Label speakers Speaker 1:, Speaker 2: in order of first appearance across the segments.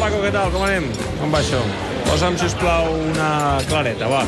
Speaker 1: Paco, què tal? Com anem? Com va això? Posa'm, sisplau, una clareta, va.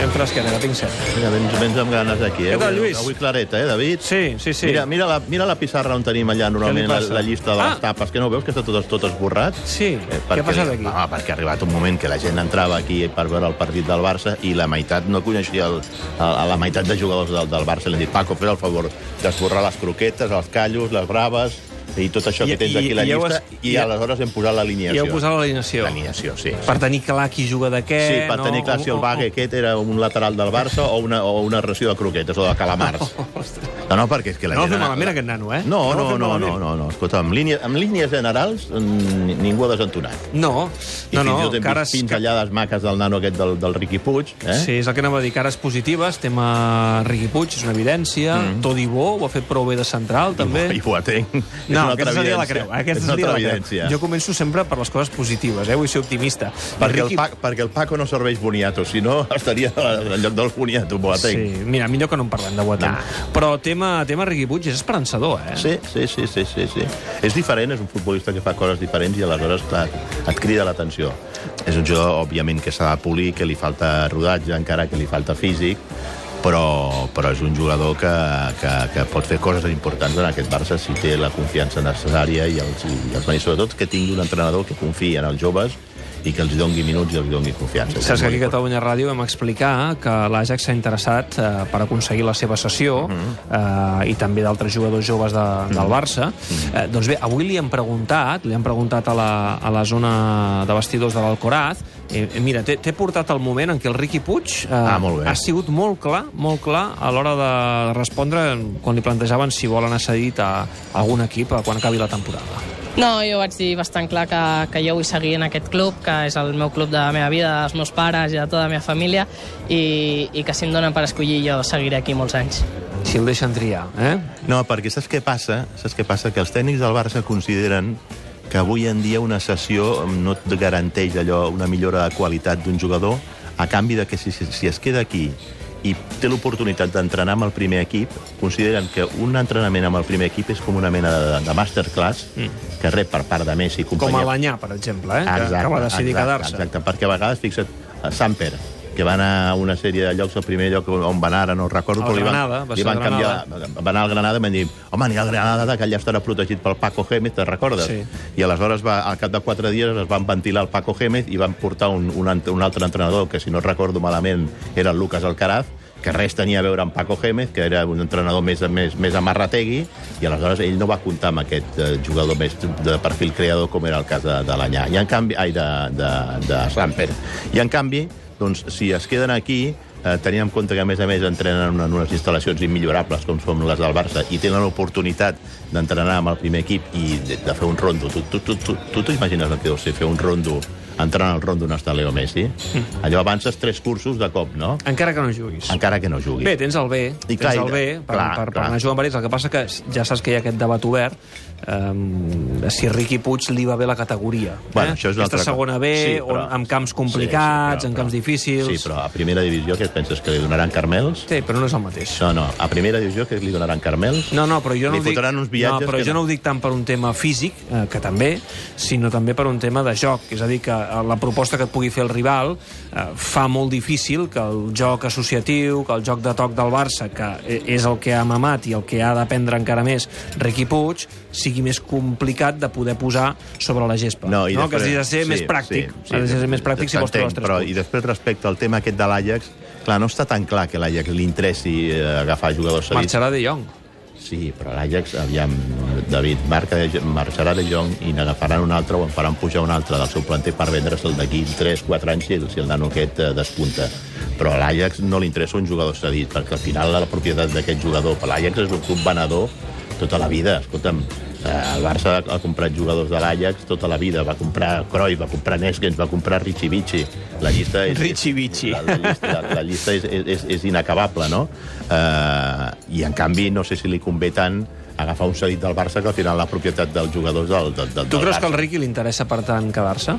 Speaker 1: Ben fresqueta, eh, que tinc set.
Speaker 2: Mira, vens, vens amb ganes d'aquí, eh?
Speaker 1: Què tal, Lluís?
Speaker 2: Avui clareta, eh, David?
Speaker 1: Sí, sí, sí.
Speaker 2: Mira, mira, la, mira la pissarra on tenim allà normalment la,
Speaker 1: passa?
Speaker 2: la llista de les
Speaker 1: Ah!
Speaker 2: tapes, que no ho veus, que està tot, tot esborrat?
Speaker 1: Sí, què
Speaker 2: Eh, perquè-
Speaker 1: ha passat aquí?
Speaker 2: Home, perquè ha arribat un moment que la gent entrava aquí per veure el partit del Barça i la meitat no coneixia el, el, a la meitat de jugadors del, del Barça. Li han dit, Paco, fes el favor d'esborrar les croquetes, els callos, les braves i tot això
Speaker 1: I-
Speaker 2: que tens
Speaker 1: i-
Speaker 2: aquí a la
Speaker 1: i heu
Speaker 2: llista,
Speaker 1: es-
Speaker 2: i,
Speaker 1: i-
Speaker 2: aleshores hem posat l'alineació.
Speaker 1: I heu posat l'alineació.
Speaker 2: L'alineació, sí.
Speaker 1: Per tenir clar qui juga de què...
Speaker 2: Sí, per tenir clar si el Vague aquest era un lateral del Barça o una, o una ració de croquetes o de calamars. No, no, perquè és que la
Speaker 1: No va
Speaker 2: gent...
Speaker 1: fer malament, aquest nano, eh?
Speaker 2: No,
Speaker 1: No va
Speaker 2: no,
Speaker 1: fer
Speaker 2: no, no,
Speaker 1: malament.
Speaker 2: no, no. Escolta, amb, línia, amb línies generals mm, ningú ha desentonat.
Speaker 1: No,
Speaker 2: I
Speaker 1: no, no,
Speaker 2: fins i tot hem
Speaker 1: cares...
Speaker 2: vist pinzellades maques del nano aquest del, del Riqui Puig, eh?
Speaker 1: Sí, és el que anava a dir, cares positives, tema Riqui Puig, és una evidència, mm. Todi Bo ho ha fet prou bé de central, també.
Speaker 2: I ho atenc.
Speaker 1: No, aquesta seria la creu. eh, Aquesta
Speaker 2: és una
Speaker 1: seria la
Speaker 2: altra
Speaker 1: creu.
Speaker 2: evidència.
Speaker 1: Jo començo sempre per les coses positives, eh? Vull ser optimista.
Speaker 2: Perquè,
Speaker 1: Riqui-
Speaker 2: el Pac, perquè el Paco no serveix Boniato, si no estaria al lloc del Boniato, Boateng.
Speaker 1: Sí, mira, millor que no en parlem de Boateng.
Speaker 2: Nah.
Speaker 1: Però tema, tema Riqui Puig és esperançador, eh?
Speaker 2: Sí, sí, sí, sí, sí, sí. És diferent, és un futbolista que fa coses diferents i aleshores, clar, et crida l'atenció. És un jugador, òbviament, que s'ha de polir, que li falta rodatge, encara que li falta físic, però, però és un jugador que, que, que pot fer coses importants en aquest Barça si té la confiança necessària i els, i els maners, sobretot que tingui un entrenador que confiï en els joves i que els dongui minuts i els dongui confiança.
Speaker 1: Saps que aquí a
Speaker 2: Molt
Speaker 1: Catalunya Ràdio vam explicar que l'Ajax s'ha interessat eh, per aconseguir la seva sessió
Speaker 2: Mhm.
Speaker 1: eh, i també d'altres jugadors joves de, del Barça.
Speaker 2: Mhm.
Speaker 1: Eh, doncs bé, avui li han preguntat, li han preguntat a la, a la zona de vestidors de l'Alcoraz, eh, eh, mira, t'he t'he portat el moment en què el Riqui Puig eh,
Speaker 2: Ah, molt bé.
Speaker 1: ha sigut molt clar, molt clar a l'hora de respondre quan li plantejaven si vol anar cedit a algun equip eh, quan acabi la temporada.
Speaker 3: No, jo vaig dir bastant clar que, que jo vull seguir en aquest club, que és el meu club de la meva vida, dels meus pares i de tota la meva família, i, i que si em donen per escollir jo seguiré aquí molts anys.
Speaker 1: Si el deixen triar, eh?
Speaker 2: No, perquè saps què passa? Saps què passa? Que els tècnics del Barça consideren que avui en dia una sessió no et garanteix allò una millora de qualitat d'un jugador a canvi de que si, si- si es queda aquí i té l'oportunitat d'entrenar amb el primer equip, consideren que un entrenament amb el primer equip és com una mena de, de masterclass mm. que rep per part de Messi i
Speaker 1: Com a
Speaker 2: companyia.
Speaker 1: l'Anyà, per exemple, eh? que, que va decidir
Speaker 2: exacte,
Speaker 1: quedar-se.
Speaker 2: Exacte, perquè a vegades, fixa't, a Samper, que va anar a una sèrie de llocs, el primer lloc on va anar, ara no recordo,
Speaker 1: Al
Speaker 2: però li van,
Speaker 1: Granada, va
Speaker 2: li
Speaker 1: ser
Speaker 2: van
Speaker 1: al
Speaker 2: canviar...
Speaker 1: Granada.
Speaker 2: Va anar al Granada i van dir, home, anirà al Granada, que allà estarà protegit pel Paco Gémez, te'n recordes?
Speaker 1: Sí.
Speaker 2: I aleshores, va, al cap de quatre dies, es van ventilar el Paco Gémez i van portar un, un, ant- un altre entrenador, que si no recordo malament era el Lucas Alcaraz, que res tenia a veure amb Paco Gémez, que era un entrenador més, més, més amarrategui, i aleshores ell no va comptar amb aquest eh, jugador més de perfil creador com era el cas de, de l'Anyà. I en canvi... Ai, de, de, de Samper. I en canvi, doncs, si es queden aquí, eh, tenint en compte que, a més a més, entrenen en en unes instal·lacions immillorables, com són les del Barça, i tenen l'oportunitat d'entrenar amb el primer equip i de, de fer un rondo. Tu tu- tu- tu- tu t'imagines el que deu ser fer un rondo, entrar al rondo on està Leo Messi?
Speaker 1: Mm.
Speaker 2: Allò avances tres cursos de cop, no?
Speaker 1: Encara que no juguis.
Speaker 2: Encara que no jugui.
Speaker 1: Bé, tens el B,
Speaker 2: Ah, I
Speaker 1: tens
Speaker 2: clar,
Speaker 1: el
Speaker 2: i-
Speaker 1: B per,
Speaker 2: clar,
Speaker 1: per, per
Speaker 2: clar.
Speaker 1: anar jugant per ells. El que passa que ja saps que hi ha aquest debat obert um, de si Riqui Puig li va bé la categoria.
Speaker 2: Bueno,
Speaker 1: eh?
Speaker 2: això és
Speaker 1: Aquesta
Speaker 2: una altra cosa.
Speaker 1: segona B,
Speaker 2: Sí, però-
Speaker 1: on, amb camps
Speaker 2: Sí, sí,
Speaker 1: complicats,
Speaker 2: però-
Speaker 1: en camps difícils...
Speaker 2: Sí, però a primera divisió què et penses, que li donaran carmels?
Speaker 1: Sí, però no és el mateix.
Speaker 2: No, no, a primera divisió que li donaran carmels?
Speaker 1: No, no, però jo no
Speaker 2: Li
Speaker 1: ho dic...
Speaker 2: fotran uns viatges
Speaker 1: no, però
Speaker 2: que
Speaker 1: jo
Speaker 2: no.
Speaker 1: no ho dic tant per un tema físic, eh, que també, sinó també per un tema de joc. És a dir, que eh, la proposta que et pugui fer el rival eh, fa molt difícil que el joc associatiu, que el joc de toc del Barça, que eh, és el que ha mamat i el que ha d'aprendre encara més Riqui Puig, sigui més complicat de poder posar sobre la gespa. no? Que has de ser més pràctic. has de ser més pràctic si vols treure els tres
Speaker 2: però,
Speaker 1: punts.
Speaker 2: I després, respecte al tema aquest de l'Àjax, clar, no està tan clar que l'Àjax li interessi eh, agafar jugadors cedits.
Speaker 1: Marxarà de Jong.
Speaker 2: Sí, però l'Àjax, aviam, David, marca de, marxarà de Jong i n'agafaran un altre o en faran pujar un altre del seu planter per vendre'l d'aquí 3-4 anys si, el- si el nano aquest eh, despunta. Però a l'Àjax no li interessa un jugador cedit, perquè al final la propietat d'aquest jugador, per l'Àjax és un club venedor tota la vida, escolta'm, eh, el Barça ha comprat jugadors de l'Àjax tota la vida, va comprar Cruyff, va comprar Neskens, va comprar Richie Vici. La llista és...
Speaker 1: Richie Vici.
Speaker 2: La, la llista, la, la llista és, és- és, és inacabable, no? Uh, I, en canvi, no sé si li convé tant agafar un cedit del Barça que al final la propietat dels jugadors del, del, del,
Speaker 1: Tu
Speaker 2: del
Speaker 1: creus que
Speaker 2: Barça.
Speaker 1: al Riqui li interessa, per tant, quedar-se?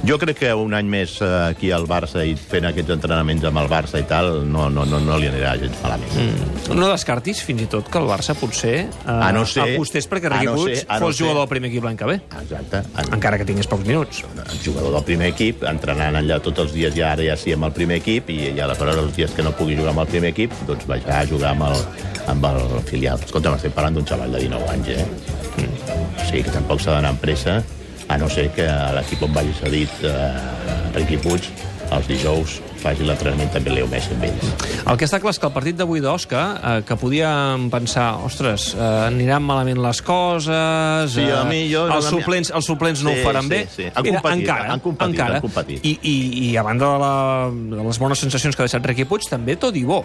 Speaker 2: Jo crec que un any més eh, aquí al Barça i fent aquests entrenaments amb el Barça i tal, no, no, no, no li anirà gens malament. Mm.
Speaker 1: No descartis, fins i tot, que el Barça potser eh,
Speaker 2: A no ser-
Speaker 1: apostés perquè Riqui
Speaker 2: a no ser-
Speaker 1: Puig
Speaker 2: a no
Speaker 1: fos
Speaker 2: ser-
Speaker 1: jugador del primer equip l'any que ve,
Speaker 2: Exacte. En,
Speaker 1: encara que tingués pocs minuts.
Speaker 2: el jugador del primer equip, entrenant allà tots els dies, ja ara ja sí amb el primer equip, i, i aleshores els dies que no pugui jugar amb el primer equip, doncs vaig a jugar amb el, amb el filial. Escolta, estem parlant d'un xaval de 19 anys, eh? O sigui que tampoc s'ha d'anar amb pressa, a no ser que a l'equip on vagi cedit eh, Riqui Puig, els dijous faci l'entrenament també Leo Messi amb ells.
Speaker 1: El que està clar és que el partit d'avui d'Osca, eh, que podíem pensar, ostres, eh, aniran malament les coses, eh,
Speaker 2: Sí, a mi jo-
Speaker 1: els,
Speaker 2: a mi-
Speaker 1: suplents, els suplents no
Speaker 2: Sí,
Speaker 1: ho faran
Speaker 2: sí,
Speaker 1: bé...
Speaker 2: sí. Han competit,
Speaker 1: encara,
Speaker 2: han competit,
Speaker 1: encara.
Speaker 2: han competit.
Speaker 1: I, i, I a banda de, la, de les bones sensacions que ha deixat Requi Puig, també tot i bo,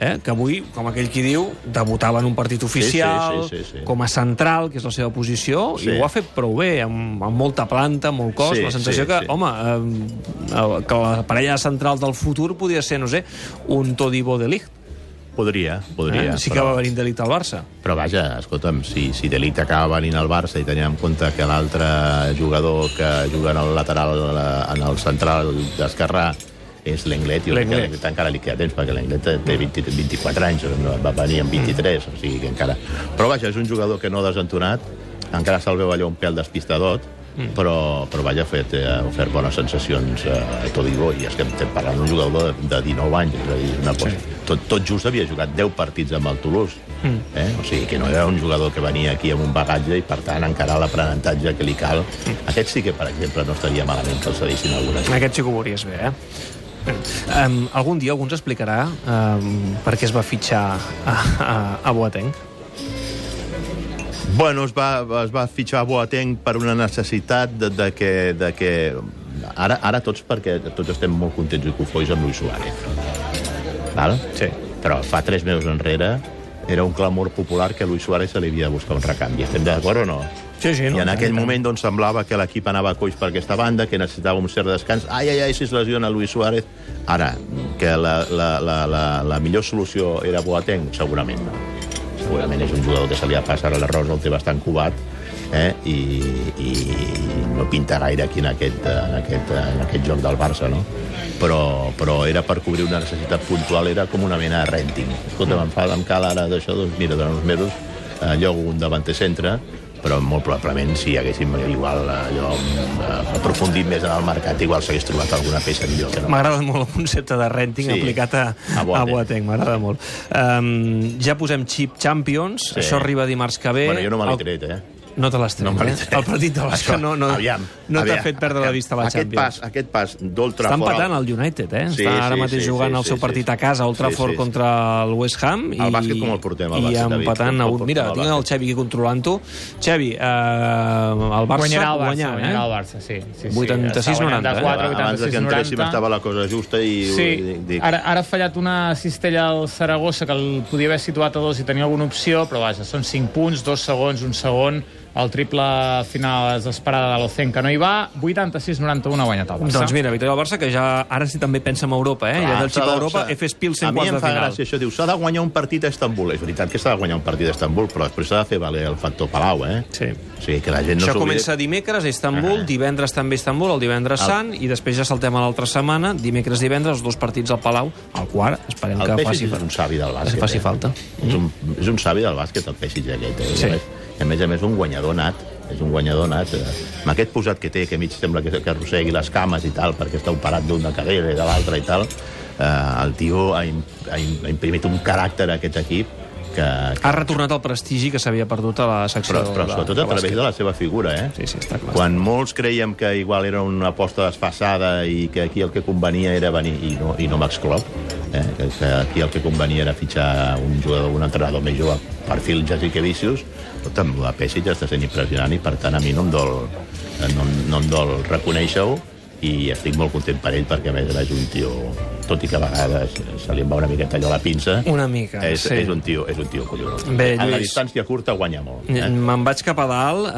Speaker 1: eh, que avui, com aquell qui diu, debutava en un partit oficial,
Speaker 2: sí, sí, sí.
Speaker 1: com a central, que és la seva posició,
Speaker 2: Sí.
Speaker 1: i ho ha fet prou bé, amb, amb molta planta, molt cos,
Speaker 2: Sí,
Speaker 1: la sensació
Speaker 2: sí,
Speaker 1: que,
Speaker 2: sí.
Speaker 1: home, home, eh, el- que la parella central del futur podria ser, no sé, un Todibo de Ligt.
Speaker 2: Podria, podria.
Speaker 1: Eh? Sí que va venir de Ligt al Barça.
Speaker 2: Però vaja, escolta'm, si, si Delict acaba venint al Barça i tenim en compte que l'altre jugador que juga en el lateral, eh, en el central d'Esquerrà, és l'Englet, jo crec que
Speaker 1: Lenglet.
Speaker 2: l'Englet encara li queda temps, perquè l'Englet té- té 20, 24 anys, no, va venir amb 23, o sigui que encara... Però vaja, és un jugador que no ha desentonat, encara se'l veu allò un pèl despistadot, però, però vaja, ha fet, eh, ha ofert bones sensacions eh, a Todibo, i és que estem parlant d'un jugador de, de 19 anys, és a dir, una cosa... Tot, tot just havia jugat 10 partits amb el Toulouse, eh? o sigui que no era un jugador que venia aquí amb un bagatge i, per tant, encara l'aprenentatge que li cal. Aquest sí que, per exemple, no estaria malament que el cedissin algunes
Speaker 1: Aquest sí que ho veuries bé, eh? Um, algun dia algú ens explicarà um, per què es va fitxar a, a, a Boateng.
Speaker 2: Bueno, es va, es va fitxar Boateng per una necessitat de, de que... De que ara, ara tots perquè tots estem molt contents i cofois amb Luis Suárez. Val? Sí. Però fa tres mesos enrere era un clamor popular que a Luis Suárez se li havia de buscar un recanvi. Estem d'acord o no?
Speaker 1: Sí, sí, no?
Speaker 2: I en aquell moment doncs, semblava que l'equip anava a coix per aquesta banda, que necessitava un cert descans. Ai, ai, ai, si es lesiona Luis Suárez. Ara, que la, la, la, la, la millor solució era Boateng? Segurament no. Segurament és un jugador que se li ha passat l'arròs, el té bastant cubat, eh? I, i no pinta gaire aquí en aquest, en aquest, en aquest joc del Barça, no? Però, però era per cobrir una necessitat puntual, era com una mena de renting. Escolta, em, fa, em cal ara d'això, doncs mira, durant uns mesos eh, llogo un davanter centre, però molt probablement si haguéssim igual eh, allò, eh, aprofundit més en el mercat, igual s'hagués trobat alguna peça millor. Que no.
Speaker 1: M'agrada molt el concepte de renting sí.
Speaker 2: Sí.
Speaker 1: aplicat a, a
Speaker 2: A Boateng.
Speaker 1: Boateng, m'agrada molt. Um, ja posem xip Champions, sí.
Speaker 2: Sí.
Speaker 1: això arriba dimarts que ve.
Speaker 2: Bueno, jo no me
Speaker 1: El-
Speaker 2: l'he tret, eh?
Speaker 1: No te l'has tret,
Speaker 2: No me l'he
Speaker 1: eh?
Speaker 2: tret.
Speaker 1: El partit de l'Osca
Speaker 2: Això,
Speaker 1: no, no,
Speaker 2: aviam,
Speaker 1: no t'ha
Speaker 2: aviam,
Speaker 1: fet perdre la
Speaker 2: aquest-
Speaker 1: vista a la
Speaker 2: aquest
Speaker 1: Champions.
Speaker 2: Pas, aquest pas d'Old
Speaker 1: Està
Speaker 2: Trafford...
Speaker 1: empatant
Speaker 2: al-
Speaker 1: el United, eh?
Speaker 2: Sí,
Speaker 1: Està ara
Speaker 2: sí,
Speaker 1: mateix
Speaker 2: sí,
Speaker 1: jugant
Speaker 2: sí,
Speaker 1: el seu
Speaker 2: sí,
Speaker 1: partit
Speaker 2: sí.
Speaker 1: a casa, Old
Speaker 2: Sí,
Speaker 1: Trafford
Speaker 2: sí, sí.
Speaker 1: contra el West Ham.
Speaker 2: El bàsquet com el portem, el
Speaker 1: I
Speaker 2: bàsquet, David?
Speaker 1: empatant a
Speaker 2: Com el
Speaker 1: un. Mira,
Speaker 2: portem, el
Speaker 1: tinc el Xavi aquí controlant-ho. Xavi, eh, el Barça
Speaker 4: guanyarà el Barça,
Speaker 1: guanyar,
Speaker 4: guanyarà el
Speaker 1: eh?
Speaker 4: Barça, sí. sí, sí.
Speaker 1: 86,
Speaker 4: Està guanyant
Speaker 1: 90,
Speaker 4: de
Speaker 1: eh?
Speaker 4: quatre,
Speaker 2: Abans de que
Speaker 4: 86,
Speaker 2: entréssim
Speaker 4: 90.
Speaker 2: estava la cosa justa i...
Speaker 4: Sí,
Speaker 2: dic,
Speaker 4: ara, ara ha fallat una cistella al Saragossa que el podia haver situat a dos i tenia alguna opció, però vaja, són 5 punts, 2 segons, un segon, el triple final desesperada de l'Ocenca no hi va, 86-91 ha guanyat el Barça.
Speaker 1: Doncs mira, victòria del Barça, que ja ara sí també pensa en Europa, eh?
Speaker 2: Ah,
Speaker 1: ja del xip a Europa, FS Pils
Speaker 2: A
Speaker 1: en
Speaker 2: mi em
Speaker 1: quarts de
Speaker 2: fa
Speaker 1: final.
Speaker 2: gràcia això, diu, s'ha de guanyar un partit a Estambul. És veritat que s'ha de guanyar un partit a Estambul, però després s'ha de fer valer el factor Palau, eh?
Speaker 1: Sí.
Speaker 2: O sigui, que la gent no
Speaker 1: Això
Speaker 2: s'oblidi-
Speaker 1: comença dimecres a
Speaker 2: Ah.
Speaker 1: Istanbul, divendres també a Istanbul, el divendres Sant, i després ja saltem a l'altra setmana, dimecres, divendres, els dos partits al Palau, el quart, esperem
Speaker 2: El
Speaker 1: que
Speaker 2: Peixis
Speaker 1: faci...
Speaker 2: és un savi del bàsquet.
Speaker 1: que faci
Speaker 2: eh?
Speaker 1: falta.
Speaker 2: És un, és un savi del bàsquet, el Peixis aquest. Eh?
Speaker 1: Sí.
Speaker 2: Sí. A, més, a més a més, un guanyador nat. És un guanyador nat. eh? Amb aquest posat que té, que mig sembla que, que arrossegui les cames i tal, perquè està operat d'una cadera i de l'altra i tal, eh, el tio ha, im, ha, im, ha imprimit un caràcter a aquest equip que... que
Speaker 1: Ha retornat el prestigi que s'havia perdut a la secció...
Speaker 2: però, però
Speaker 1: de-
Speaker 2: sobretot
Speaker 1: de
Speaker 2: a través
Speaker 1: bàsquet.
Speaker 2: de la seva figura, eh?
Speaker 1: Sí, sí, està clar.
Speaker 2: Quan molts creiem que igual era una aposta desfassada i que aquí el que convenia era venir, i no, i no Max Klopp, eh? que que aquí el que convenia era fitxar un jugador, un entrenador més jove, perfil Jasic Vicius, escolta'm, la Pessic està sent impressionant i per tant a mi no em dol, eh, no, em- no em dol reconèixer-ho i estic molt content per ell perquè a més a més és un tio tot i que a vegades se li en va una miqueta allò a la pinça.
Speaker 1: Una mica,
Speaker 2: és,
Speaker 1: sí.
Speaker 2: És un tio, és un tio collonut.
Speaker 1: Bé,
Speaker 2: a la
Speaker 1: Lluís.
Speaker 2: distància curta guanya molt. Eh?
Speaker 1: Me'n vaig cap a dalt.
Speaker 2: Eh,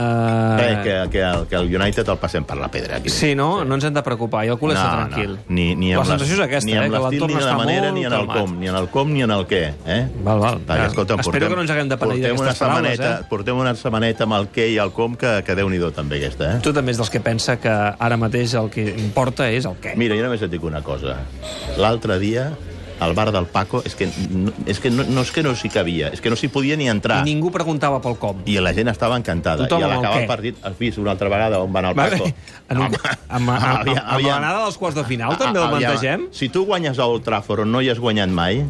Speaker 1: Eh...
Speaker 2: que, que, el, que el United el passem per la pedra. Aquí.
Speaker 1: Sí, no? No ens hem de preocupar. Jo el cul no, està tranquil.
Speaker 2: No. Ni, ni amb
Speaker 1: la sensació és
Speaker 2: les-
Speaker 1: aquesta,
Speaker 2: ni
Speaker 1: eh?
Speaker 2: amb
Speaker 1: Que
Speaker 2: l'estil,
Speaker 1: l'entorn
Speaker 2: ni de
Speaker 1: està
Speaker 2: la manera,
Speaker 1: molt
Speaker 2: ni en el
Speaker 1: calmat.
Speaker 2: com, ni en el com, ni en el què. Eh?
Speaker 1: Val, val.
Speaker 2: Perquè, escolta,
Speaker 1: Espero que no ens haguem de penedir
Speaker 2: portem una
Speaker 1: d'aquestes paraules,
Speaker 2: setmaneta,
Speaker 1: eh?
Speaker 2: Portem una setmaneta amb el què i el com, que, que déu-n'hi-do també aquesta, eh?
Speaker 1: Tu també és dels que pensa que ara mateix el que importa és el què.
Speaker 2: Mira, jo només et dic una cosa. L'altre dia, al bar del Paco, és que, no, és que no, no és que no s'hi cabia, és que no s'hi podia ni entrar.
Speaker 1: I ningú preguntava pel com.
Speaker 2: I la gent estava encantada.
Speaker 1: Tothom
Speaker 2: I a
Speaker 1: amb el
Speaker 2: l'acabar
Speaker 1: què?
Speaker 2: el partit has vist una altra vegada on va anar el
Speaker 1: Va bé,
Speaker 2: Paco.
Speaker 1: en un- amb-
Speaker 2: Home,
Speaker 1: amb- amb-
Speaker 2: aviam,
Speaker 1: amb
Speaker 2: aviam.
Speaker 1: l'anada dels quarts de final, també el
Speaker 2: Aviam,
Speaker 1: plantegem?
Speaker 2: ah, Si tu guanyes a Old Trafford on no hi has guanyat mai,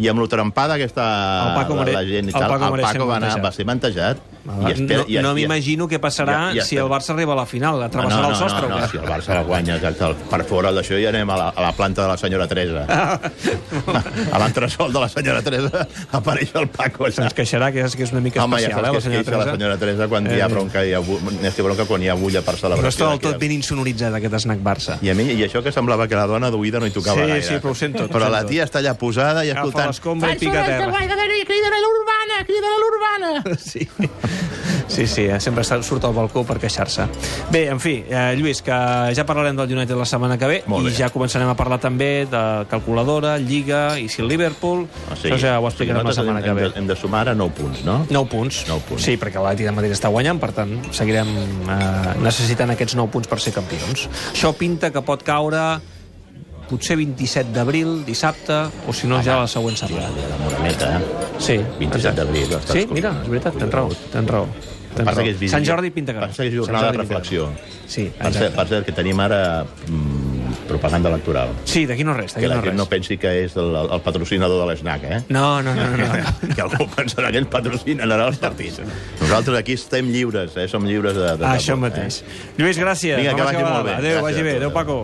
Speaker 2: i amb lo trampada que està
Speaker 1: El Paco
Speaker 2: la, la
Speaker 1: mere-
Speaker 2: gent i
Speaker 1: el
Speaker 2: tal,
Speaker 1: Paco
Speaker 2: el
Speaker 1: mereix ser
Speaker 2: Paco va, anar,
Speaker 1: mantejat.
Speaker 2: va ser mantejat.
Speaker 1: No, no, no m'imagino què passarà si el Barça arriba a la final. Atrevessarà el sostre
Speaker 2: no, no,
Speaker 1: o
Speaker 2: no,
Speaker 1: què?
Speaker 2: si el Barça la guanya exacte, el- per fora d'això ja anem a la, a la planta de la senyora Teresa.
Speaker 1: Ah.
Speaker 2: a l'entresol de la senyora Teresa apareix el Paco. allà.
Speaker 1: Se'ns queixarà que és, que és una mica
Speaker 2: Home, ja
Speaker 1: especial,
Speaker 2: saps
Speaker 1: eh,
Speaker 2: que
Speaker 1: la senyora
Speaker 2: es queixa la
Speaker 1: Teresa.
Speaker 2: senyora Teresa quan hi ha
Speaker 1: Eh.
Speaker 2: bronca, hi ha, bu- és que bronca quan hi ha bulla per celebració.
Speaker 1: No està del
Speaker 2: d'aquella.
Speaker 1: tot ben insonoritzat, aquest esnac-Barça.
Speaker 2: I, a mi, I això que semblava que la dona d'oïda no hi tocava
Speaker 1: Sí,
Speaker 2: gaire.
Speaker 1: sí, però ho sento,
Speaker 2: Però
Speaker 1: ho
Speaker 2: la
Speaker 1: sento.
Speaker 2: tia està allà posada i
Speaker 1: Agafa
Speaker 2: escoltant...
Speaker 1: l'escombra i pica a terra.
Speaker 3: Crida-la l'urbana, crida-la l'urbana!
Speaker 1: Sí. Sí, sí, eh, sempre està- surt al balcó per queixar-se. Bé, en fi, eh, Lluís, que ja parlarem del United la setmana que ve
Speaker 2: Molt
Speaker 1: i
Speaker 2: bé.
Speaker 1: ja començarem a parlar també de calculadora, Lliga i si el Liverpool...
Speaker 2: O
Speaker 1: Això ja ho explicarem la
Speaker 2: Ah, nosaltres
Speaker 1: setmana
Speaker 2: hem-
Speaker 1: que ve.
Speaker 2: Hem de, hem de sumar ara 9 punts, no?
Speaker 1: 9 punts.
Speaker 2: Nou punts.
Speaker 1: Sí, perquè l'Atleti de Madrid està guanyant, per tant, seguirem eh, necessitant aquests 9 punts per ser campions. Això pinta que pot caure potser 27 d'abril, dissabte, o si no, ja la següent setmana.
Speaker 2: La moreneta, eh?
Speaker 1: Sí,
Speaker 2: 27
Speaker 1: exacte.
Speaker 2: d'abril, estàs
Speaker 1: Sí,
Speaker 2: com-
Speaker 1: mira, és veritat, tens raó, tens raó. Tens
Speaker 2: Passa
Speaker 1: raó.
Speaker 2: que és vigília.
Speaker 1: Sant Jordi pinta que no.
Speaker 2: Passa que és
Speaker 1: Sant
Speaker 2: jornada
Speaker 1: Jordi
Speaker 2: de
Speaker 1: pinta que no.
Speaker 2: reflexió.
Speaker 1: Sí,
Speaker 2: Per cert,
Speaker 1: exacte.
Speaker 2: per cert, que tenim ara mm, propaganda electoral.
Speaker 1: Sí, d'aquí no res,
Speaker 2: Que
Speaker 1: d'aquí
Speaker 2: la
Speaker 1: no
Speaker 2: gent no
Speaker 1: res.
Speaker 2: pensi que és el, el patrocinador de l'esnac, eh?
Speaker 1: No, no, no, no. no.
Speaker 2: que algú pensarà que ens patrocinen ara els partits. Nosaltres aquí estem lliures, eh? Som lliures de... de
Speaker 1: Això
Speaker 2: tabú, eh?
Speaker 1: mateix. Lluís, gràcies.
Speaker 2: Vinga, que
Speaker 1: Vam
Speaker 2: vagi
Speaker 1: acabar.
Speaker 2: molt bé.
Speaker 1: Adéu,
Speaker 2: Gràcies
Speaker 1: vagi
Speaker 2: a
Speaker 1: bé.
Speaker 2: tots.
Speaker 1: Adéu, Paco.